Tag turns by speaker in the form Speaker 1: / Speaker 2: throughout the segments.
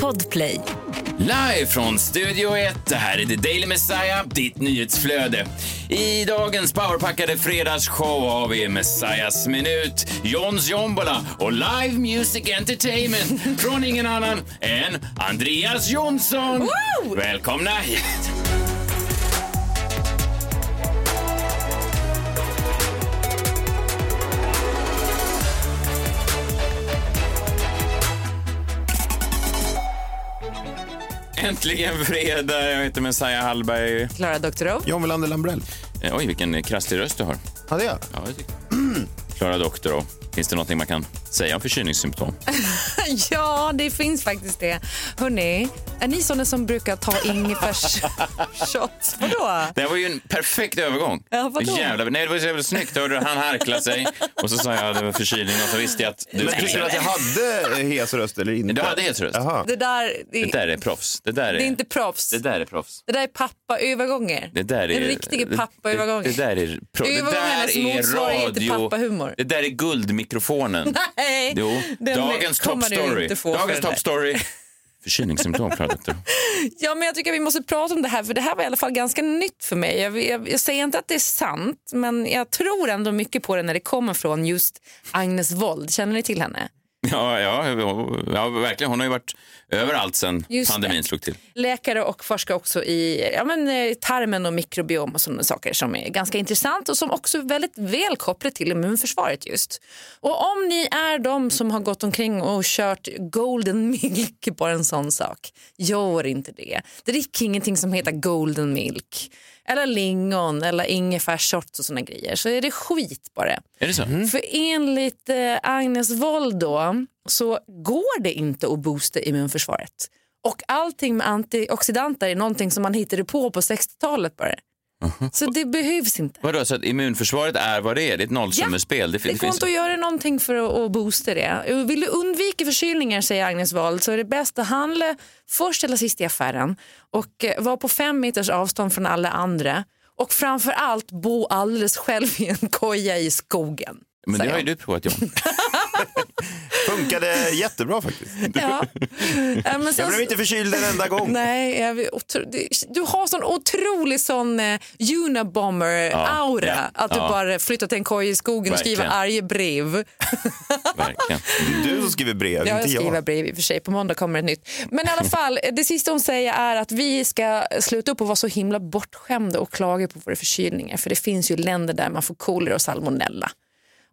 Speaker 1: Podplay.
Speaker 2: Live från Studio 1, det här är The Daily Messiah, ditt nyhetsflöde. I dagens powerpackade fredagsshow har vi Messiahs minut, Johns jombola och live music entertainment från ingen annan än Andreas Jonsson.
Speaker 1: Woo!
Speaker 2: Välkomna hit! Äntligen fredag, jag heter Messiah Hallberg.
Speaker 1: Klara Doktorov.
Speaker 3: John Welander Lambrell.
Speaker 2: Eh, Oj, vilken krasslig röst du har.
Speaker 3: Hade jag?
Speaker 2: Ja, det tycker jag. Klara Doktor, då. finns det någonting man kan säga om förkylningssymptom?
Speaker 1: Ja, det finns faktiskt det. Hörrni, är ni såna som brukar ta ingefärsshot? Vadå?
Speaker 2: Det här var ju en perfekt övergång.
Speaker 1: Ja, vadå?
Speaker 2: Jävlar, nej, det var så jävla snyggt. Hörde du, han harklade sig och så sa jag att det var förkylning och så visste jag att du
Speaker 3: Men
Speaker 2: skulle
Speaker 3: tyckte du
Speaker 2: säga
Speaker 3: att jag
Speaker 2: det.
Speaker 3: hade eh, hes röst eller inte?
Speaker 2: Du hade hes röst.
Speaker 3: Jaha.
Speaker 1: Det där är,
Speaker 2: Det där är proffs. Det där är,
Speaker 1: det är inte proffs.
Speaker 2: det där är proffs.
Speaker 1: Det där är pappaövergångar.
Speaker 2: Det där är...
Speaker 1: En riktig
Speaker 2: det-
Speaker 1: pappaövergång.
Speaker 2: Det, det där är... Pro, det
Speaker 1: Övergångarnas
Speaker 2: där är
Speaker 1: motsvarighet till
Speaker 2: radio...
Speaker 1: pappahumor.
Speaker 2: Det där är guldmikrofonen.
Speaker 1: Nej,
Speaker 2: Jo,
Speaker 1: den
Speaker 2: dagens
Speaker 1: kommer du
Speaker 2: toppstory.
Speaker 1: inte få för
Speaker 2: Dagens
Speaker 1: den där.
Speaker 2: toppstory. Förkylningssymptom, Klara Doktor.
Speaker 1: Ja, men jag tycker att vi måste prata om det här, för det här var i alla fall ganska nytt för mig. Jag, jag, jag säger inte att det är sant, men jag tror ändå mycket på det när det kommer från just Agnes Wold. Känner ni till henne?
Speaker 2: Ja, ja, ja, verkligen. Hon har ju varit överallt sen
Speaker 1: Just det.
Speaker 2: pandemin slog till.
Speaker 1: Läkare och forskar också i ja, men, eh, tarmen och mikrobiom och sådana saker som är ganska intressant och som också är väldigt väl kopplat till immunförsvaret just. Och om ni är de som har gått omkring och kört golden milk på en sån sak, gör inte det. Drick ingenting som heter golden milk eller lingon eller ingefärsshot och såna grejer så är det skit på det.
Speaker 2: Är det så?
Speaker 3: Mm.
Speaker 1: För enligt eh, Agnes Wold då, så går det inte att boosta immunförsvaret. Och allting med antioxidanter är någonting som man hittade på på 60-talet bara. Så det behövs inte.
Speaker 2: Vadå, så att immunförsvaret är vad det är? Det är ett nollsummespel?
Speaker 1: Det går inte att göra någonting för att- att boosta det. Vill du undvika förkylningar, säger Agnes Wold, så är det bäst att handla först eller sist i affären och eh, vara på fem meters avstånd från alla andra och framför allt bo alldeles själv i en koja i skogen.
Speaker 2: Men det
Speaker 1: säger
Speaker 2: har ju
Speaker 1: hon.
Speaker 2: du provat, John.
Speaker 3: Funkade jättebra faktiskt.
Speaker 1: Ja. Eh, Men sen-
Speaker 3: Jag blev inte förkyld en enda gång.
Speaker 1: Nej, jag vill, otro, det- du har sån otrolig sån eh, Unabomber-aura.
Speaker 2: Ja, ja,
Speaker 1: att du
Speaker 2: ja.
Speaker 1: bara flyttar till en koja i skogen och skriver
Speaker 2: Verkligen.
Speaker 1: arga brev.
Speaker 2: Verkligen.
Speaker 3: Det är Du som skriver brev,
Speaker 1: Ja, jag
Speaker 3: inte
Speaker 1: skriver
Speaker 3: jag.
Speaker 1: brev i och för sig. På måndag kommer ett nytt. Men i alla fall, det sista hon säger är att vi ska sluta upp och vara så himla bortskämda och klaga på våra förkylningar. För det finns ju länder där man får kolera och salmonella.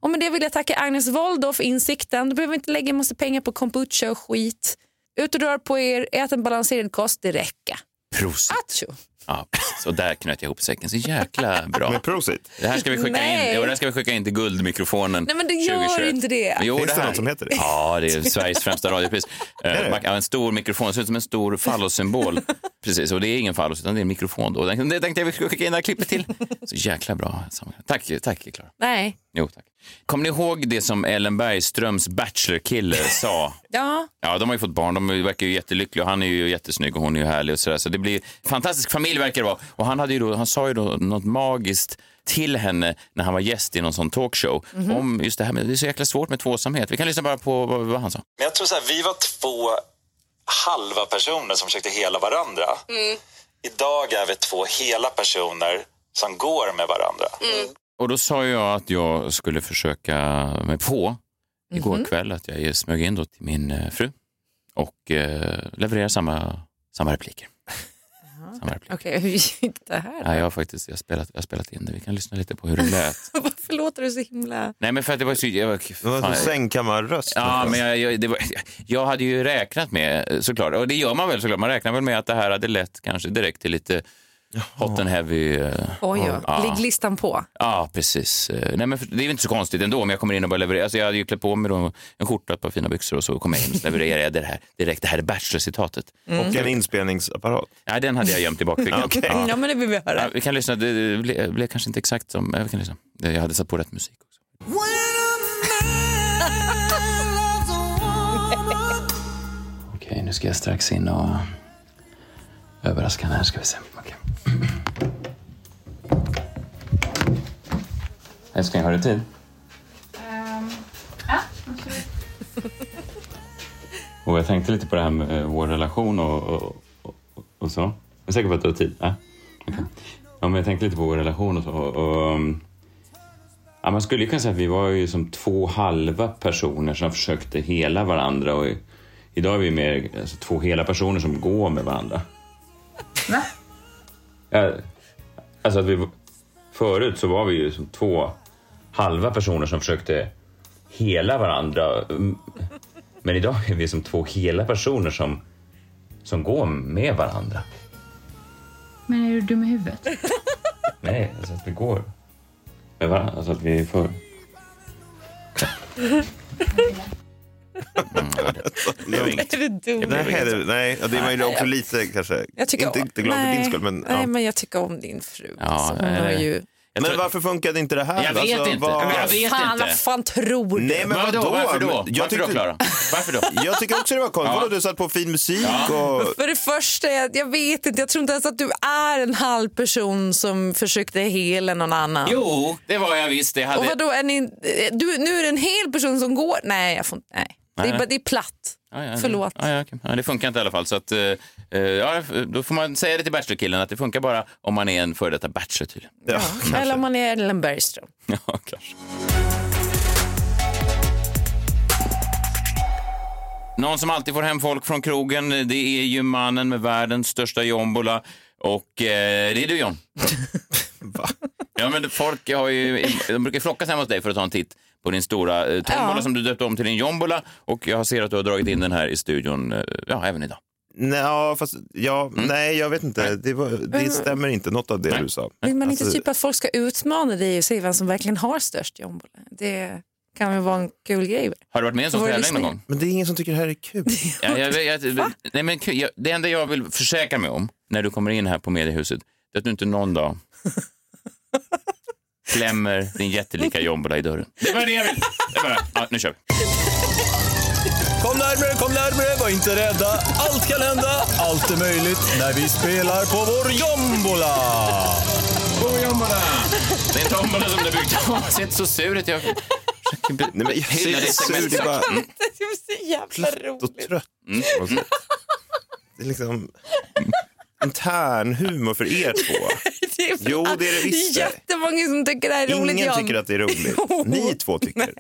Speaker 1: Och med det vill jag tacka Agnes Wold då för insikten. Du behöver inte lägga en massa pengar på kombucha och skit. Ut och rör på er, ät en balanserad kost, det räcker.
Speaker 2: Prosit.
Speaker 1: Atjo.
Speaker 2: Ja, så där knöt jag ihop säcken. Så jäkla bra.
Speaker 3: Med prosit.
Speaker 2: Det här ska vi skicka
Speaker 1: Nej.
Speaker 2: in, jo, det här ska vi skicka in till guldmikrofonen
Speaker 1: Nej, men det gör
Speaker 2: 2021.
Speaker 1: inte det.
Speaker 2: Jo,
Speaker 3: Finns det
Speaker 2: här-
Speaker 3: något som heter det?
Speaker 2: Ja, det är Sveriges främsta radiopris. Eh, man- ja, en stor mikrofon, det ser ut som en stor fallossymbol. Precis, och det är ingen fallos utan det är en mikrofon. Då. Den, det tänkte jag vi skulle skicka in det här klippet till. Så jäkla bra. Tack, tack Klara.
Speaker 1: Nej.
Speaker 2: Jo, tack. Kommer ni ihåg det som Ellen Bergströms Bachelor-kille sa?
Speaker 1: Ja.
Speaker 2: Ja, de har ju fått barn. De verkar ju jättelyckliga och han är ju jättesnygg och hon är ju härlig och sådär. Så det blir fantastisk familj verkar det vara. Och han, hade ju då, han sa ju då något magiskt till henne när han var gäst i någon sån talkshow om just det här med det är så jäkla svårt med tvåsamhet. Vi kan lyssna bara på vad, vad han sa.
Speaker 4: Men jag tror så här, vi var två halva personer som försökte hela varandra. Idag är vi två hela personer som går med varandra.
Speaker 2: Och då sa jag att jag skulle försöka mig på igår kväll att jag smög in då till min eh, fru och eh, levererar samma, samma repliker. Samma repliker.
Speaker 1: Okej, hur gick det här?
Speaker 2: Ja, jag har faktiskt jag har spelat, jag har spelat in det. Vi kan lyssna lite på hur det lät.
Speaker 1: Varför låter du så himla...
Speaker 2: Nej, men för att det var så... Jag, var-
Speaker 3: Det var
Speaker 2: fan,
Speaker 3: en sängkammarröst.
Speaker 2: ja, men jag, jag, det var, jag hade ju räknat med, eh, såklart, och det gör man väl såklart, man räknar väl med att det här hade lett kanske direkt till lite hot and heavy. eh,
Speaker 1: Oj, ja. Ligg listan på.
Speaker 2: Ja, precis. Eh, Nej, men för- det är ju inte så konstigt ändå om jag kommer in och bara levererar. Alltså, jag hade ju klätt på mig då en skjorta, ett par fina byxor och så kom jag in och så levererade jag det här direkt. Det här är Bachelor-citatet.
Speaker 1: Mm.
Speaker 3: Och en inspelningsapparat.
Speaker 2: Nej, den hade jag gömt i bakfickan.
Speaker 1: Ja.
Speaker 2: ja.
Speaker 1: men det vill vi höra.
Speaker 2: Ja, vi kan lyssna. Det, det blev, blev kanske inte exakt som... eh, Vi kan lyssna. Jag hade satt på rätt musik också. Okej, nu ska jag strax in och överraska henne. här ska vi se. Okej. Älskling, har du tid?
Speaker 5: Och jag tänkte lite på det här med eh, vår relation och, och, och, och så. Jag är säker på att det var tid. Ja. Okej. Ja, men jag tänkte lite på vår relation och så. Och, och, um, ja, man skulle ju kunna säga att vi var ju som två halva personer som försökte hela varandra. Och i, idag är vi mer alltså, två hela personer som går med varandra.
Speaker 6: Va?
Speaker 5: Ja, alltså att vi, förut så var vi ju som två halva personer som försökte hela varandra. Mm. Men idag är vi som två hela personer som, som går med varandra.
Speaker 6: Men är du dum i huvudet?
Speaker 5: Nej, alltså att vi går med varandra. Alltså att vi är för...
Speaker 1: Är det dumt?
Speaker 3: Nej, det, nej, ja, det var ju också lite kanske.
Speaker 1: Jag tycker,
Speaker 3: inte, inte glad för din skull, men,
Speaker 1: Nej,
Speaker 3: ja.
Speaker 1: men jag tycker om din fru.
Speaker 2: Ja,
Speaker 1: alltså, hon
Speaker 2: nej,
Speaker 1: har
Speaker 2: nej.
Speaker 1: ju...
Speaker 2: Jag,
Speaker 3: men
Speaker 2: tror-
Speaker 3: varför funkade inte det här?
Speaker 2: jag vet
Speaker 3: Alltså,
Speaker 2: inte.
Speaker 3: vad-
Speaker 2: Men Jag vet
Speaker 1: fan,
Speaker 2: inte.
Speaker 1: vad fan tror du?
Speaker 3: Nej, men
Speaker 2: Men vadå,
Speaker 3: vadå?
Speaker 2: varför då?
Speaker 3: Men jag
Speaker 2: varför då,
Speaker 3: tyckte-
Speaker 2: Klara? Varför då?
Speaker 3: Jag tycker också det var konstigt.
Speaker 2: Ja.
Speaker 3: Vadå, Du satt på fin musik och...
Speaker 1: För det första, jag, jag vet inte. Jag tror inte ens att du är en halv person som försökte hela någon annan.
Speaker 2: Jo, det var jag visst. Det
Speaker 1: Och
Speaker 2: hade...
Speaker 1: vadå, är ni, du, nu är det en hel person som går? Nej, jag får, inte- nej. Det, är, bara- det är platt.
Speaker 2: Ja, ja,
Speaker 1: Förlåt.
Speaker 2: Ja, ja, okej. ja, det funkar inte i alla fall. Så att, eh, eh, ja, då får man säga det till Bachelor-killen att det funkar bara om man är en före detta bachelor tydligen.
Speaker 3: Ja.
Speaker 1: Eller om man är Ellen Bergström.
Speaker 2: Ja, kanske. Någon som alltid får hem folk från krogen, det är ju mannen med världens största jombola. Och eh, det är du, John. Ja, men folk har ju, de brukar flockas hemma hos dig för att ta en titt på din stora eh, tombola
Speaker 1: Ja.
Speaker 2: som du döpte om till din jombola. Och jag ser att du har dragit in den här i studion, eh, ja, även idag.
Speaker 3: Nej, ja, fast, ja,
Speaker 2: Mm.
Speaker 3: nej, jag vet inte. Det, var, det stämmer inte, något av det du sa.
Speaker 1: Vill man inte
Speaker 3: Alltså-
Speaker 1: typ att folk ska utmana dig och se vem som verkligen har störst jombola? Det kan väl vara en kul grej?
Speaker 2: Har du varit med i en sån
Speaker 1: Var det
Speaker 2: tävling någon
Speaker 1: lyssning?
Speaker 2: gång?
Speaker 3: Men det är ingen som tycker det här är kul.
Speaker 2: Ja, jag, jag, jag, nej, men, kul. jag, det enda jag vill försäkra mig om när du kommer in här på mediehuset det är att du inte någon dag klämmer din jättelika jombola i dörren. Det var det jag ville. Det var det. Ja, nu kör vi.
Speaker 7: Kom närmre, kom närmre, var inte rädda. Allt kan hända, allt är möjligt när vi spelar på vår jombola.
Speaker 2: Det är en tombola som du byggt. Jag ser inte så sur ut. Jag försöker be-
Speaker 3: Nej, men jag
Speaker 2: hylla
Speaker 3: är
Speaker 2: det
Speaker 3: sur. Det
Speaker 2: segmentet.
Speaker 3: är bara mm,
Speaker 1: Det är så jävla
Speaker 3: platt och trött.
Speaker 2: Mm.
Speaker 3: på något sätt. Det är liksom intern humor för er två.
Speaker 1: Det är,
Speaker 3: Jo, det är det visst
Speaker 1: Det
Speaker 3: det.
Speaker 1: är jättemånga som tycker det här är roligt.
Speaker 3: Ingen
Speaker 1: Jan.
Speaker 3: tycker att det är roligt. Ni två tycker.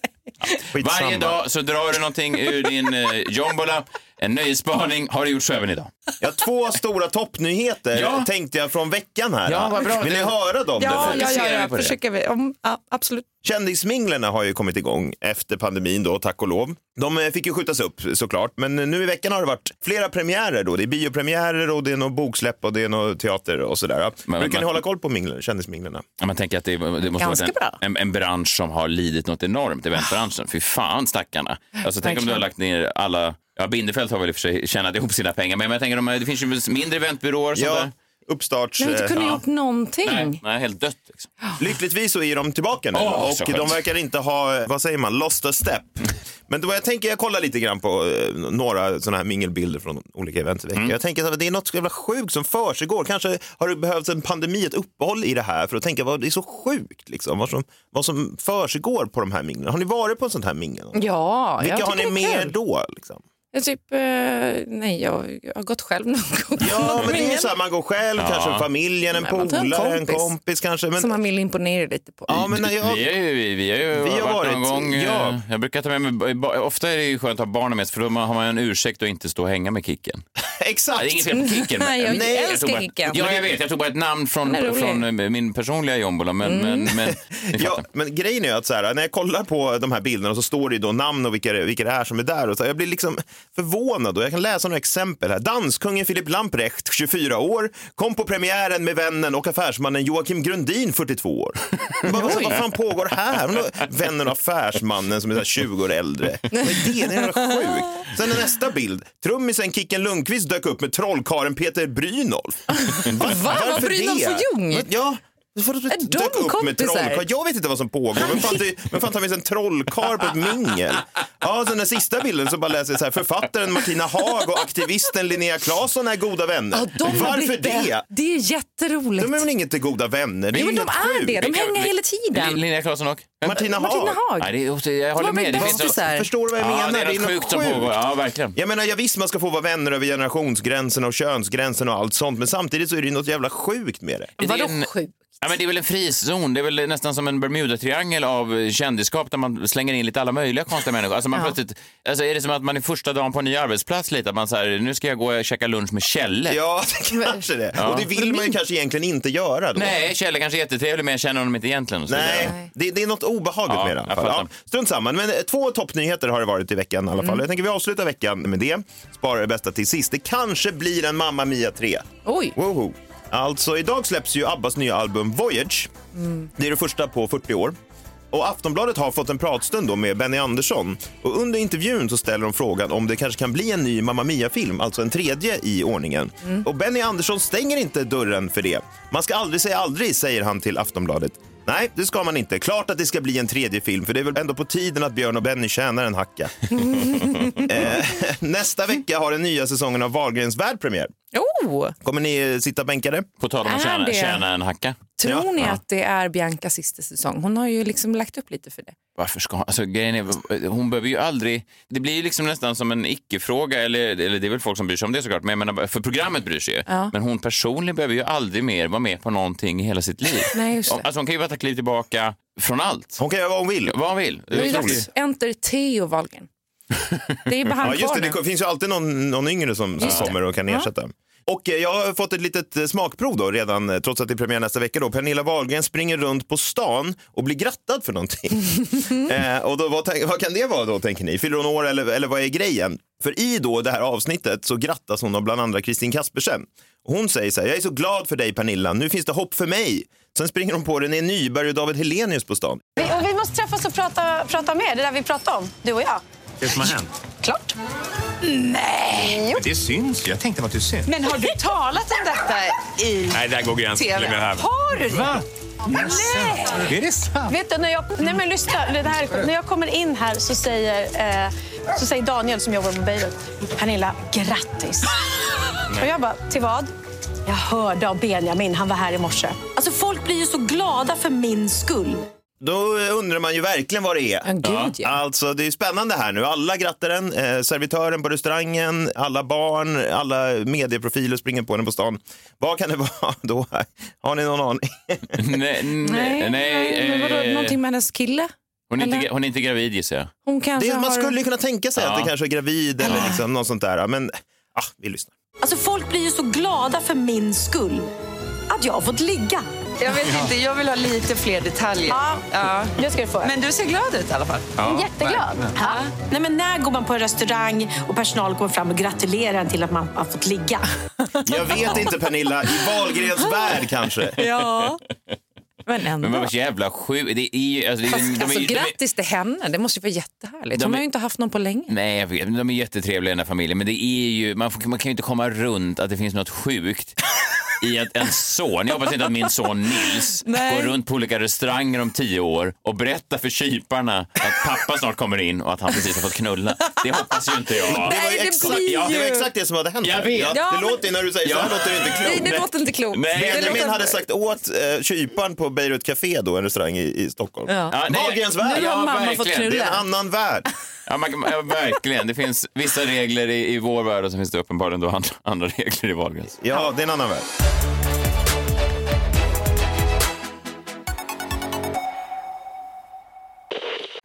Speaker 3: Skitsamma.
Speaker 2: Varje dag så drar du någonting ur din eh, jombola. En nöjesspaning har du gjort så även idag.
Speaker 3: Ja, två stora toppnyheter
Speaker 2: Ja.
Speaker 3: tänkte jag från veckan här.
Speaker 2: Ja, vad bra.
Speaker 3: Vill ni höra dem?
Speaker 1: Ja, ja,
Speaker 3: Därför-
Speaker 1: ja,
Speaker 2: Fokuserar vi
Speaker 1: ja.
Speaker 2: på det?
Speaker 1: försöker vi. Om, ja, absolut.
Speaker 3: Kändisminglerna har ju kommit igång efter pandemin då, tack och lov. De eh, fick ju skjutas upp såklart, men eh, nu i veckan har det varit flera premiärer då. Det är biopremiärer och det är något boksläpp och det är något teater och sådär.
Speaker 2: Men-
Speaker 3: Brukar
Speaker 2: men-
Speaker 3: ni hålla koll på mingler, kändisminglerna?
Speaker 2: Ja, Man tänker att det, det måste
Speaker 1: Ganska
Speaker 2: vara
Speaker 1: bra.
Speaker 2: en, en, en bransch som har lidit något enormt, eventbranschen. Fy fan stackarna. Alltså, tänk om du har lagt ner alla... Ja, Bindefeld har väl i och för sig tjänat ihop sina pengar, men jag tänker de, här- det finns ju mindre eventbyråer. och sånt
Speaker 3: Ja,
Speaker 2: där.
Speaker 3: uppstarts...
Speaker 1: Du har inte
Speaker 3: eh,
Speaker 1: kunnat
Speaker 2: ja.
Speaker 1: gjort någonting.
Speaker 2: Nej, nej, helt dött. Liksom.
Speaker 3: Lyckligtvis så är de tillbaka nu
Speaker 2: Åh, så
Speaker 3: och
Speaker 2: skönt.
Speaker 3: de verkar inte ha, vad säger man, lost a step. Men då jag tänker, jag kollar lite grann på eh, några sådana här mingelbilder från olika event i veckan.
Speaker 2: Mm.
Speaker 3: Jag tänker att det är något så jävla sjukt som försiggår. Kanske har det behövts en pandemi, ett uppehåll i det här för att tänka vad det är så sjukt liksom. Vad som, vad som försiggår på de här minglen. Har ni varit på en sån här mingel? någon gång?
Speaker 1: Ja,
Speaker 3: Vilka
Speaker 1: Mm. jag
Speaker 3: har ni
Speaker 1: tycker
Speaker 3: med
Speaker 1: det är
Speaker 3: er
Speaker 1: kul.
Speaker 3: då? Liksom?
Speaker 1: Jag typ, eh, nej, jag, jag har gått själv någon gång.
Speaker 3: Ja, men det är
Speaker 1: Ingen
Speaker 3: så här, man går själv, kanske familjen, en
Speaker 1: Nej, man tar en
Speaker 3: polare, en
Speaker 1: kompis.
Speaker 3: kompis kanske.
Speaker 1: Som
Speaker 3: Men,
Speaker 1: man vill imponera lite på.
Speaker 3: ja, men när jag,
Speaker 2: Vi, är ju, vi, vi, är ju
Speaker 3: Vi har
Speaker 2: varit någon
Speaker 3: varit-
Speaker 2: gång.
Speaker 3: ja.
Speaker 2: eh, Jag brukar ta med mig, ba- ofta är det ju skönt att ha barnen med sig, för då har man en ursäkt att inte stå och hänga med Kicken. Ja, Det är
Speaker 3: exakt.
Speaker 2: inget fel på Kicken. men-
Speaker 1: Nej, jag
Speaker 2: jag
Speaker 1: älskar
Speaker 2: tog bara,
Speaker 1: Kicken.
Speaker 2: Ja, jag vet. Jag tog bara ett namn från,
Speaker 1: är rolig.
Speaker 2: från eh, min personliga jombola, men... men, men ni
Speaker 3: Mm. Ja,
Speaker 2: fattar.
Speaker 3: men grejen är att så här, när jag kollar på de här bilderna så står det ju då namn och vilka, det- vilka det är som är där. Och så här, jag blir liksom förvånad och jag kan läsa några exempel här. Danskungen Filip Lamprecht, 24 år, kom på premiären med vännen och affärsmannen Joakim Grundin, 42 år. Jag Bara, alltså, vad fan pågår här? Men då- Vännen och affärsmannen som är så här 20 år äldre. Vad är det? Det är jävla sjukt. Sen är nästa bild. Trummisen Kicken Lundqvist dök upp med trollkaren Peter Brynolf. Va? Varför
Speaker 1: Brynolf
Speaker 3: det?
Speaker 1: och Ljung?
Speaker 3: Ja. Vadå,
Speaker 1: Är de
Speaker 3: dök upp med
Speaker 1: kompisar?
Speaker 3: trollkarl. Jag vet inte vad som pågår. Men fan, det, men fan tar vi en trollkarl på ett mingel? Ja, sen den sista bilden så bara läser jag så här. Författaren Martina Haag och aktivisten Linnea Claesson är goda vänner.
Speaker 1: Ja, de har
Speaker 3: Varför
Speaker 1: blivit
Speaker 3: det?
Speaker 1: Det är jätteroligt.
Speaker 3: De är väl inte goda vänner? Det är
Speaker 1: Jo, men
Speaker 3: ju
Speaker 1: de
Speaker 3: helt
Speaker 1: är
Speaker 3: sjukt.
Speaker 1: det. De hänger hela
Speaker 2: Lin-
Speaker 1: tiden.
Speaker 2: Linnea Claesson och?
Speaker 3: Martina Haag.
Speaker 1: Martina Haag.
Speaker 2: Nej, det, är- jag håller
Speaker 1: Hon var
Speaker 2: med.
Speaker 1: väl
Speaker 2: något-
Speaker 1: bästisar.
Speaker 3: Förstår du vad jag
Speaker 2: Ja,
Speaker 3: menar?
Speaker 2: det är något sjukt som pågår. Ja, verkligen.
Speaker 3: Jag menar, jag visst man ska få vara vänner över generationsgränserna och könsgränserna och allt sånt, men samtidigt så är det ju något jävla sjukt med det.
Speaker 2: Det är
Speaker 1: Vadå
Speaker 2: en-
Speaker 1: sjukt?
Speaker 2: Ja, men det är väl en frizon. Det är väl nästan som en Bermuda-triangel av kändisskap där man slänger in lite alla möjliga konstiga människor. Alltså man
Speaker 1: Ja.
Speaker 2: plötsligt, alltså är det som att man är första dagen på en ny arbetsplats lite? Att man så här, nu ska jag gå och käka lunch med Kjelle.
Speaker 3: Ja, det kanske det. Och det vill man ju kanske egentligen inte göra då.
Speaker 2: Nej, Kjelle kanske är jättetrevlig men jag känner honom inte egentligen. och så vidare.
Speaker 3: Nej, det, det är något obehagligt
Speaker 2: Ja,
Speaker 3: med det i alla
Speaker 2: jag
Speaker 3: fall. Ja,
Speaker 2: fattar.
Speaker 3: strunt samma, men eh, två toppnyheter har det varit i veckan i alla fall. Jag tänker vi avslutar veckan med det. Sparar det bästa till sist. Det kanske blir en Mamma Mia 3.
Speaker 1: Oj.
Speaker 3: Woho. Alltså, idag släpps ju Abbas nya album Voyage. Det är det första på 40 år. Och Aftonbladet har fått en pratstund då med Benny Andersson. Och under intervjun så ställer de frågan om det kanske kan bli en ny Mamma Mia-film, alltså en tredje i ordningen. Och Benny Andersson stänger inte dörren för det. Man ska aldrig säga aldrig, säger han till Aftonbladet. Nej, det ska man inte. Klart att det ska bli en tredje film, för det är väl ändå på tiden att Björn och Benny tjänar en hacka. eh, nästa vecka har den nya säsongen av Wahlgrens värld premiär.
Speaker 1: Oh,
Speaker 3: Kommer ni eh, sitta bänkade?
Speaker 2: På tal om att
Speaker 1: Är
Speaker 2: tjäna,
Speaker 1: det?
Speaker 2: tjäna en hacka.
Speaker 1: tror
Speaker 3: Ja.
Speaker 1: ni att det är Biancas sista säsong? Hon har ju liksom lagt upp lite för det.
Speaker 2: Varför ska hon? Alltså, grejen är, hon behöver ju aldrig... Det blir ju liksom nästan som en icke-fråga, eller, eller det är väl folk som bryr sig om det såklart, men jag menar, för programmet bryr sig ju.
Speaker 1: Ja.
Speaker 2: Men hon personligen behöver ju aldrig mer vara med på någonting i hela sitt liv.
Speaker 1: Nej, just det.
Speaker 2: Alltså hon kan ju bara ta kliv tillbaka från allt.
Speaker 3: Hon kan göra vad hon vill.
Speaker 2: Vad hon vill.
Speaker 1: Det är ju
Speaker 2: otroligt.
Speaker 1: dags. Enter Theo Wahlgren. Det är bara han
Speaker 3: Ja, just
Speaker 1: kvar
Speaker 3: det,
Speaker 1: nu.
Speaker 3: det finns ju alltid någon, någon yngre som, som kommer och kan ersätta. Och eh, jag har fått ett litet eh, smakprov då redan, eh, trots att det är premiär nästa vecka. Då. Pernilla Wahlgren springer runt på stan och blir grattad för någonting. eh, och då, vad, tänk- vad kan det vara då, tänker ni? Fyller hon år eller, eller vad är grejen? För i då det här avsnittet så grattas hon av bland andra Kristin Kaspersen. Hon säger så här, jag är så glad för dig Pernilla, nu finns det hopp för mig. Sen springer hon på René Nyberg och David Helenius på stan.
Speaker 8: Vi, och vi måste träffas och prata, prata mer, det där vi pratade om, du och jag.
Speaker 9: Det som har hänt?
Speaker 8: Klart.
Speaker 9: Det syns ju. Jag tänkte att du syns.
Speaker 8: Men har du talat om detta i
Speaker 9: Nej, där går gränsen.
Speaker 8: tv?
Speaker 9: till och med här.
Speaker 8: Har du det?
Speaker 9: Va?
Speaker 8: Nej!
Speaker 9: Är det sant?
Speaker 8: Vet du, när jag, nej men lyssna, det här, är sjukt. när jag kommer in här så säger, eh, så säger Daniel som jobbar på Beirut, Pernilla, grattis. Och jag bara, till vad? Jag hörde av Benjamin, han var här i morse. Alltså folk blir ju så glada för min skull.
Speaker 3: Då eh, undrar man ju verkligen vad det är.
Speaker 1: Men gud ja.
Speaker 3: Alltså det är spännande här nu. Alla grattar den, eh, servitören på restaurangen, alla barn, alla medieprofiler springer på den på stan. Vad kan det vara då? Har ni någon aning?
Speaker 1: Alltså,
Speaker 2: Nej, nej, nej,
Speaker 1: men vadå,
Speaker 2: eh,
Speaker 1: någonting med hennes kille?
Speaker 2: hon, är inte,
Speaker 1: eller?
Speaker 2: gra- hon är inte gravid gissar jag.
Speaker 1: Hon kanske
Speaker 3: Det, man
Speaker 1: har...
Speaker 3: skulle ju kunna tänka sig att det kanske är gravid eller liksom något sånt där. Men ah, vi lyssnar.
Speaker 8: Alltså folk blir ju så glada för min skull. Att jag har fått ligga.
Speaker 10: Jag vet inte, jag vill ha lite fler detaljer.
Speaker 8: Ja.
Speaker 10: Ja.
Speaker 8: Det ska du få. Mm,
Speaker 10: Men du ser glad ut i alla fall.
Speaker 8: Jätteglad. Ja. Nej, men när går man på en restaurang och personal kommer fram och gratulerar en till att man har fått ligga?
Speaker 3: Jag vet inte Pernilla, i Wahlgrens värld kanske.
Speaker 1: Ja. Men ändå.
Speaker 2: Men vad jävla sjukt. Det är ju... Alltså, det är-
Speaker 1: Fast,
Speaker 2: de är-
Speaker 1: alltså,
Speaker 2: de är-
Speaker 1: grattis till henne, det måste ju vara jättehärligt. Hon
Speaker 2: De är-
Speaker 1: har ju inte haft någon på länge.
Speaker 2: Nej, jag vet. Men de är jättetrevliga den här familjen. Men det är ju, man, får, man kan ju inte komma runt att det finns något sjukt i att en son, jag hoppas inte att min son Nils
Speaker 1: Nej.
Speaker 2: går runt på olika restauranger om tio år och berättar för kyparna att pappa snart kommer in och att han precis har fått knulla. Det hoppas ju inte jag.
Speaker 1: Nej, det
Speaker 3: exakt,
Speaker 1: blir
Speaker 3: ja, det var
Speaker 1: ju-
Speaker 3: exakt det som hade hänt.
Speaker 2: Jag
Speaker 3: här.
Speaker 2: vet.
Speaker 3: Ja,
Speaker 1: Ja,
Speaker 3: det
Speaker 1: men-
Speaker 3: låter ju när du säger så här
Speaker 2: Ja.
Speaker 3: låter det inte klokt.
Speaker 1: Nej, det låter inte klokt.
Speaker 2: Nej,
Speaker 1: det
Speaker 3: Benjamin
Speaker 1: låter...
Speaker 3: hade sagt åt eh, kyparen på Beirut Café, då, en restaurang i, i Stockholm.
Speaker 1: Ja.
Speaker 2: Ja, nej.
Speaker 3: Wahlgrens
Speaker 1: Nu
Speaker 3: värld!
Speaker 1: har
Speaker 2: Ja,
Speaker 1: mamma fått
Speaker 2: verkligen.
Speaker 1: knulla.
Speaker 3: Det är en annan värld.
Speaker 2: Ja, man, kan- ja, verkligen. Det finns vissa regler i, i vår värld och så finns det uppenbarligen då andra, andra regler i Wahlgrens.
Speaker 3: Ja, det är en annan värld.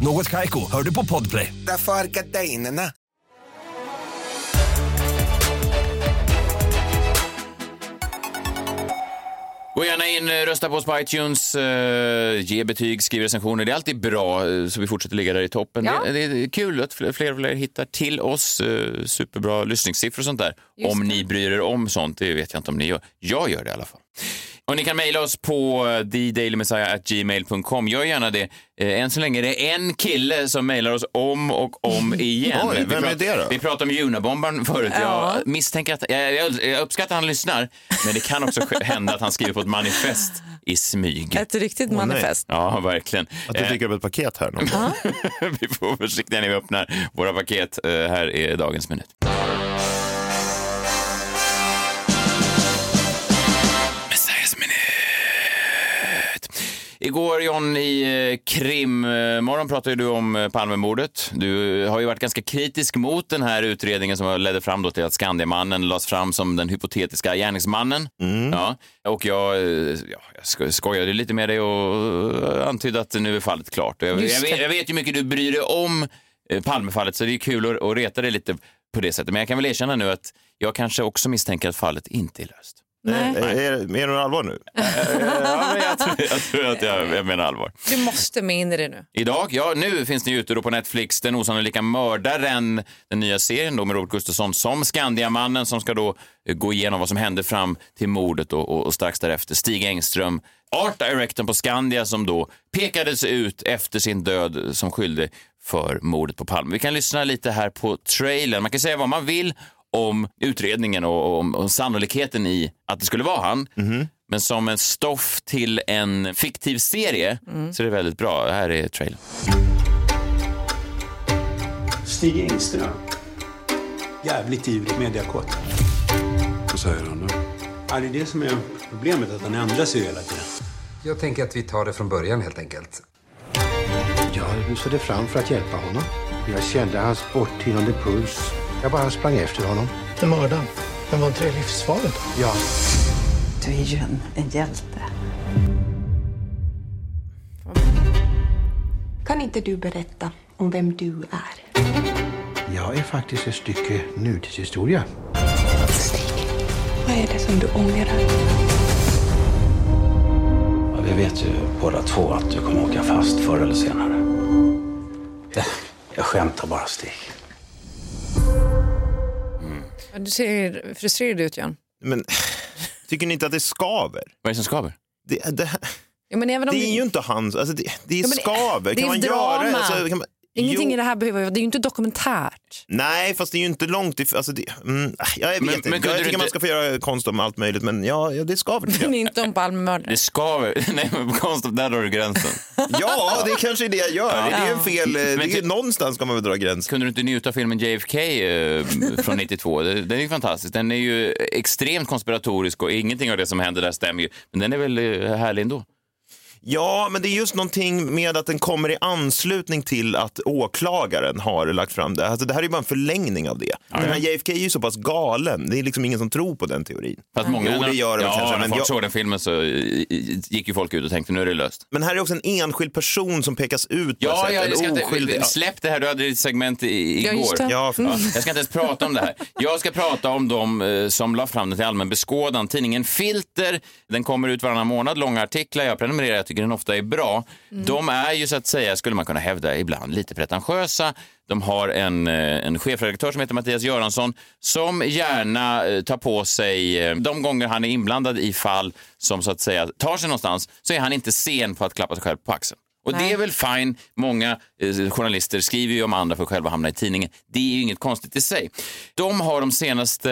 Speaker 11: Något Kaiko, hör du på Podplay.
Speaker 9: Därför är gardinerna.
Speaker 2: Gå gärna in, eh, rösta på oss på iTunes, eh, ge betyg, skriv recensioner. Det är alltid bra, eh, så vi fortsätter ligga där i toppen.
Speaker 1: Ja.
Speaker 2: Det, det är kul att fl- fler och fler hittar till oss. eh, superbra lyssningssiffror och sånt där. om ni bryr er om sånt, det vet jag inte om ni gör. Jag gör det i alla fall. Och ni kan mejla oss på eh, thedailymessiah.gmail.com. Gör gärna det. Eh, Än så länge är det en kille som mejlar oss om och om igen.
Speaker 3: Oj,
Speaker 2: Vi
Speaker 3: vem är
Speaker 2: prat-
Speaker 3: det då?
Speaker 2: Vi pratade om Junabombaren förut.
Speaker 1: Ja.
Speaker 2: Jag misstänker att, jag, jag, jag uppskattar att han lyssnar, men det kan också ske- hända att han skriver på ett manifest i smyg.
Speaker 1: Ett riktigt
Speaker 2: Åh, nej.
Speaker 1: manifest.
Speaker 2: Ja, verkligen. Eh,
Speaker 3: Att
Speaker 1: Eh.
Speaker 3: du fick upp ett paket här. någon gång.
Speaker 2: vi får vara försiktiga när vi öppnar våra paket. Eh, Här är dagens minut. Messiahs minut. Igår John, i eh, krimmorgon pratade du om eh, Palmemordet. Du eh, har ju varit ganska kritisk mot den här utredningen som ledde fram då till att Skandiamannen lades fram som den hypotetiska gärningsmannen. Ja. Och jag, eh, ja, jag sko- skojade lite med dig och eh, antydde att nu är fallet klart. Jag, jag,
Speaker 1: Just
Speaker 2: vet,
Speaker 1: det.
Speaker 2: jag vet ju hur mycket du bryr dig om eh, Palmefallet så det är kul att, att reta dig lite på det sättet. Men jag kan väl erkänna nu att jag kanske också misstänker att fallet inte är löst.
Speaker 1: Nej. Eh.
Speaker 3: Eh, Är, är det något allvar nu?
Speaker 2: Ja, men jag, tror, jag tror att jag, jag menar allvar.
Speaker 1: Du måste med in i det nu.
Speaker 2: Idag, ja nu finns den ju ute då på Netflix, Den osannolika mördaren, den nya serien då med Robert Gustafsson som Skandiamannen som ska då eh, gå igenom vad som hände fram till mordet och, och, och strax därefter Stig Engström, art directorn på Skandia som då pekades ut efter sin död som skyldig för mordet på Palme. Vi kan lyssna lite här på trailern. Man kan säga vad man vill om utredningen och, och om, om sannolikheten i att det skulle vara han.
Speaker 3: Mhm.
Speaker 2: Men som en stoff till en fiktiv serie
Speaker 3: Mm.
Speaker 2: så är det väldigt bra. Här är trailern.
Speaker 12: Stig Engström. Jävligt ivrigt mediakåt. Vad säger han nu? Ja, det är det som är problemet, att han ändrar sig ju hela tiden.
Speaker 13: Jag tänker att vi tar det från början helt enkelt.
Speaker 14: Jag rusade fram för att hjälpa honom. Jag kände hans borttynande puls. Jag bara sprang efter honom.
Speaker 15: Den mördaren, den var inte det livsfarligt?
Speaker 14: Ja.
Speaker 16: Du är ju en, en hjälte.
Speaker 17: Kan inte du berätta om vem du är?
Speaker 14: Jag är faktiskt ett stycke nutidshistoria.
Speaker 17: Vad är det som du ångrar?
Speaker 12: vi vet ju båda två att du kommer åka fast förr eller senare. Jag, jag skämtar bara, Stig.
Speaker 1: Du ser frustrerad ut, Jan.
Speaker 3: Men tycker ni inte att det skaver?
Speaker 2: Vad är det som skaver?
Speaker 3: Det, det,
Speaker 1: Ja, men även om
Speaker 3: det är ju inte hans, alltså det, det är
Speaker 1: Ja, men det-
Speaker 3: skaver.
Speaker 1: det
Speaker 3: Kan
Speaker 1: är
Speaker 3: man
Speaker 1: drama.
Speaker 3: göra alltså, kan man,
Speaker 1: Ingenting
Speaker 3: Jo.
Speaker 1: i det här behöver det är ju inte dokumentärt.
Speaker 3: Nej, fast det är ju inte långt ifrån. Alltså det, mm, jag vet
Speaker 2: Men-
Speaker 3: inte.
Speaker 2: men
Speaker 3: jag
Speaker 2: kunde
Speaker 3: tycker
Speaker 2: du inte-
Speaker 3: man ska få göra konst om allt möjligt, men ja, ja det skaver. tycker
Speaker 1: Men
Speaker 3: jag.
Speaker 1: inte om Palmemördaren.
Speaker 2: Det skaver. Nej, men konstigt, där drar du gränsen.
Speaker 3: ja, det är kanske är det jag gör.
Speaker 2: Ja.
Speaker 3: Det är en fel, eh,
Speaker 2: Men
Speaker 3: det är,
Speaker 2: ty-
Speaker 3: någonstans ska man väl dra gränsen.
Speaker 2: Kunde du inte njuta av filmen JFK eh, från 92? Den den är ju fantastisk. Den är ju extremt konspiratorisk och ingenting av det som händer där stämmer ju. Men den är väl eh, härlig ändå?
Speaker 3: Ja, men det är just någonting med att den kommer i anslutning till att åklagaren har lagt fram det. Alltså, det här är ju bara en förlängning av det. Den här JFK är ju så pass galen. Det är liksom ingen som tror på den teorin.
Speaker 2: Fast många,
Speaker 3: Mm. jo, det gör de
Speaker 2: ja,
Speaker 3: kanske.
Speaker 2: när
Speaker 3: Men,
Speaker 2: folk
Speaker 3: jag,
Speaker 2: såg den filmen så i- i- gick ju folk ut och tänkte nu är det löst.
Speaker 3: men här är också en enskild person som pekas ut på
Speaker 2: Ja,
Speaker 3: ett
Speaker 2: ja,
Speaker 3: sätt.
Speaker 2: jag ska
Speaker 3: en oskyldig.
Speaker 2: inte, släpp det här, du hade ditt segment i, i-
Speaker 3: Ja,
Speaker 2: igår.
Speaker 3: just det. Ja, för-
Speaker 2: jag ska inte ens prata om det här. Jag ska prata om de eh, som la fram den till allmän beskådan. Tidningen Filter, den kommer ut varannan månad, långa artiklar. Jag prenumererar, jag tycker den ofta är bra.
Speaker 3: Mm.
Speaker 2: De är ju så att säga, skulle man kunna hävda ibland, lite pretentiösa. De har en, eh, en chefredaktör som heter Mattias Göransson som gärna eh, tar på sig, eh, de gånger han är inblandad i fall som så att säga tar sig någonstans, så är han inte sen på att klappa sig själv på axeln. Och det är väl fine. Många eh, journalister skriver ju om andra för att själva hamna i tidningen. Det är ju inget konstigt i sig. De har de senaste,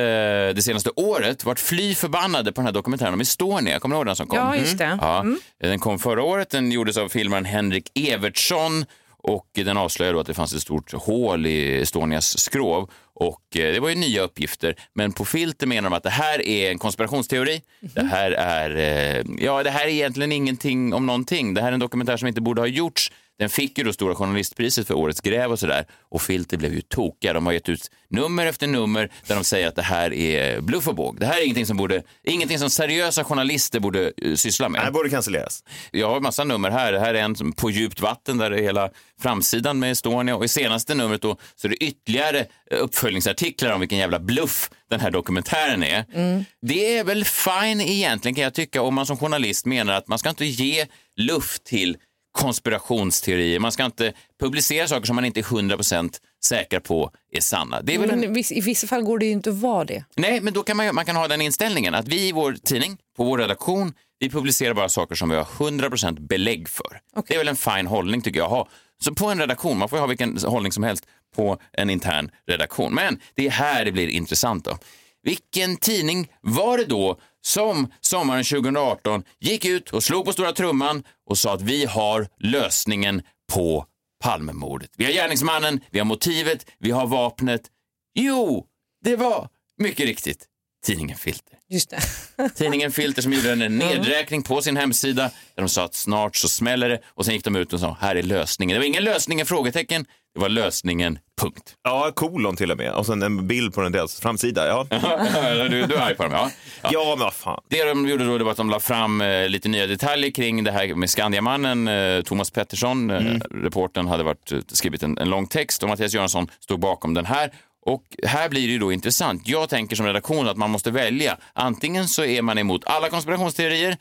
Speaker 2: det senaste året varit fly förbannade på den här dokumentären om Estonia. Kommer ni ihåg den som kom?
Speaker 1: Ja, just det. Mm.
Speaker 2: Ja. Den kom förra året. Den gjordes av filmaren Henrik Evertsson och den avslöjade då att det fanns ett stort hål i Estonias skrov. Och eh, det var ju nya uppgifter, men på Filter menar de att det här är en konspirationsteori. Det här är, eh, ja, det här är egentligen ingenting om någonting. Det här är en dokumentär som inte borde ha gjorts. Den fick ju då Stora Journalistpriset för Årets gräv och sådär. Och Filter blev ju tokiga. De har gett ut nummer efter nummer där de säger att det här är bluff och båg. Det här är ingenting som, borde, ingenting som seriösa journalister borde eh, syssla med.
Speaker 3: Nej, borde cancelleras.
Speaker 2: Jag har en massa nummer här. Det här är en som- på djupt vatten där det är hela framsidan med Estonia och i senaste numret då så är det ytterligare eh, uppföljningsartiklar om vilken jävla bluff den här dokumentären är. Det är väl fine egentligen kan jag tycka om man som journalist menar att man ska inte ge luft till konspirationsteorier. Man ska inte publicera saker som man inte är 100% säker på är sanna. Det är väl en
Speaker 1: Men i viss- I vissa fall går det ju inte att vara det.
Speaker 2: Nej, men då kan man, ju- man kan ha den inställningen att vi i vår tidning, på vår redaktion, Vi publicerar bara saker som vi har 100% belägg för. Det är väl en fin hållning tycker jag. att Ha. Så på en redaktion, man får ju ha vilken hållning som helst på en intern redaktion. Men det är här det blir intressant då. Vilken tidning var det då som sommaren 2018 gick ut och slog på stora trumman och sa att vi har lösningen på Palmemordet. Vi har gärningsmannen, vi har motivet, vi har vapnet. Jo, det var mycket riktigt tidningen Filter.
Speaker 1: Just det.
Speaker 2: Tidningen Filter som gjorde en nedräkning på sin hemsida där de sa att snart så smäller det och sen gick de ut och sa här är lösningen. Det var ingen lösningen frågetecken, det var lösningen punkt.
Speaker 3: Ja, kolon till och med. Och sen en bild på den deras framsida. Ja.
Speaker 2: du, du är arg på dem, ja.
Speaker 3: Ja, men vad fan.
Speaker 2: Det de gjorde då det var att de la fram eh, lite nya detaljer kring det här med Skandiamannen. Eh, Thomas Pettersson, eh,
Speaker 1: Mm.
Speaker 2: reportern, hade varit, eh, skrivit en, en lång text och Mattias Göransson stod bakom den här. Och här blir det ju då intressant. Jag tänker som redaktion att man måste välja. Antingen så är man emot alla konspirationsteorier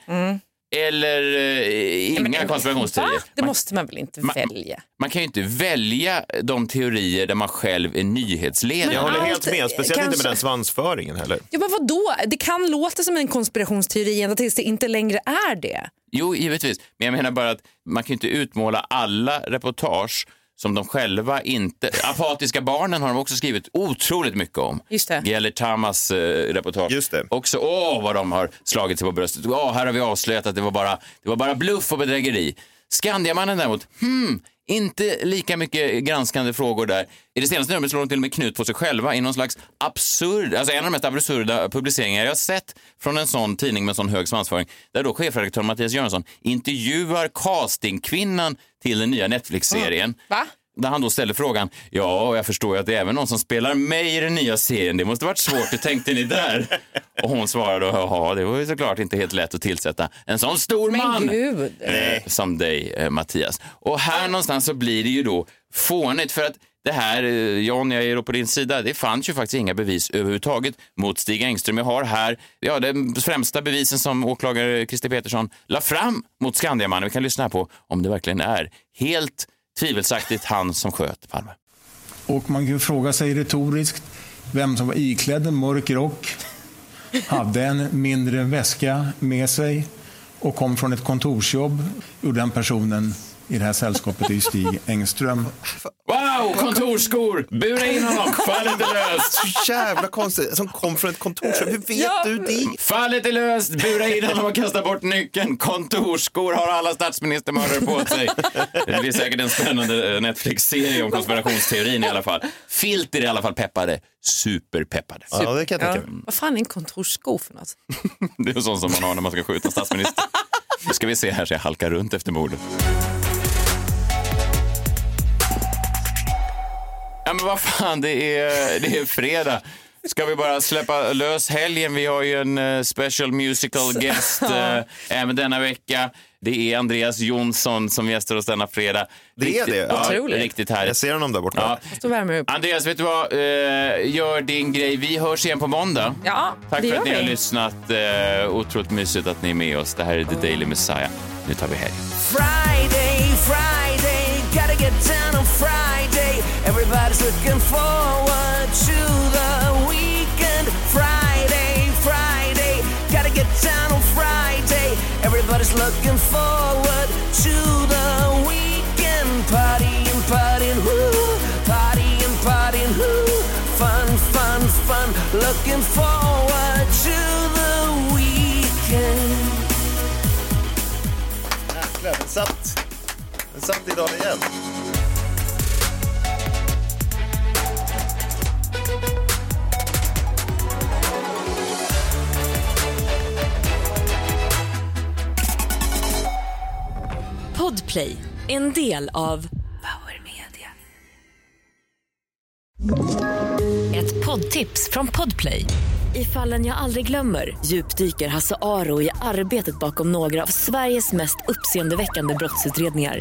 Speaker 2: eller eh, inga konspirationsteorier.
Speaker 1: Mm. Va? Det måste man väl inte välja?
Speaker 2: Man kan ju inte välja de teorier där man själv är nyhetsledare.
Speaker 1: Men Jag håller helt allt- med, speciellt inte med kanske- den
Speaker 2: svansföringen heller.
Speaker 1: Ja, men vadå? Det kan låta som en konspirationsteori ända tills det inte längre är det.
Speaker 2: Jo, givetvis. Men jag menar bara att man kan ju inte utmåla alla reportage som de själva inte... Apatiska barnen har de också skrivit otroligt mycket om.
Speaker 1: Just det.
Speaker 2: Gellert Tamas eh, reportage. Just det. Också, åh vad de har slagit sig på bröstet. Åh, här har vi avslöjat att det var bara, det var bara bluff och bedrägeri. Skandiamannen däremot, hmm, inte lika mycket granskande frågor där. I det senaste numret slår de till och med knut på sig själva i någon slags absurd, alltså en av de mest absurda publiceringar jag har sett från en sån tidning med sån hög svansföring, där då chefredaktör Mattias Göransson intervjuar castingkvinnan till den nya Netflix-serien. Där han då ställer frågan, ja, jag förstår ju att det är även någon som spelar mig i den nya serien. Det måste varit svårt, hur tänkte ni där? Och hon svarade, ja, det var ju såklart inte helt lätt att tillsätta en sån stor man
Speaker 1: gud.
Speaker 2: eh, som dig, eh, Mattias. Och här någonstans så blir det ju då fånigt för att det här, eh, John, jag är då på din sida, det fanns ju faktiskt inga bevis överhuvudtaget mot Stig Engström. Jag har här ja, de främsta bevisen som åklagare Christer Petersson la fram mot Skandiamannen. Vi kan lyssna här på om det verkligen är helt tvivelaktigt han som sköt Palme.
Speaker 18: Och man kan ju fråga sig retoriskt vem som var iklädd en mörk rock, hade en mindre väska med sig och kom från ett kontorsjobb. Jo, den personen i det här sällskapet är ju Stig Engström.
Speaker 2: Wow, kontorsskor! Bura in honom, fallet är löst!
Speaker 3: Så jävla konstigt, som kom från ett kontorsrum. Hur vet du det?
Speaker 2: Fallet är löst, bura in honom och kasta bort nyckeln. Kontorsskor har alla statsministermördare på sig. Det blir säkert en spännande eh, Netflix-serie om konspirationsteorin i alla fall. Filter i alla fall peppade, superpeppade.
Speaker 1: Vad fan är en kontorssko för något?
Speaker 2: Det är sånt som man har när man ska skjuta statsministern. Nu ska vi se här så jag halkar runt efter mordet. Ja men vad fan, det är, det är fredag. Ska vi bara släppa lös helgen? Vi har ju en eh, special musical guest eh, även denna vecka. Det är Andreas Jonsson som gästar oss denna fredag.
Speaker 3: Det är det?
Speaker 2: Ja,
Speaker 3: Otroligt.
Speaker 2: riktigt härligt. Jag ser honom där borta.
Speaker 1: Då värmer vi upp.
Speaker 2: Andreas, vet du vad? Eh, gör din grej. Vi hörs igen på måndag.
Speaker 1: Ja,
Speaker 2: Tack
Speaker 1: det
Speaker 2: för
Speaker 1: gör
Speaker 2: att ni har
Speaker 1: vi.
Speaker 2: lyssnat. Eh, otroligt mysigt att ni är med oss. Det här är The Daily Messiah. Nu tar vi helg.
Speaker 19: Friday, Friday, gotta get down on Friday. Everybody's looking forward to the weekend. Friday, Friday, gotta get down on Friday. Everybody's looking forward to the weekend. Partying, partying, whoo, partying, partying, whoo. Fun, fun, fun, looking forward to the weekend.
Speaker 3: Jäklar, den satt. Den satt idag igen.
Speaker 20: Podplay, en del av Power Media. Ett poddtips från Podplay. I fallen jag aldrig glömmer djupdyker Hasse Aro i arbetet bakom några av Sveriges mest uppseendeväckande brottsutredningar.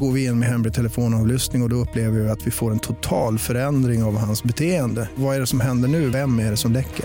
Speaker 15: Går vi in med hemlig telefonavlyssning och, och då upplever vi att vi får en total förändring av hans beteende. Vad är det som händer nu? Vem är det som läcker?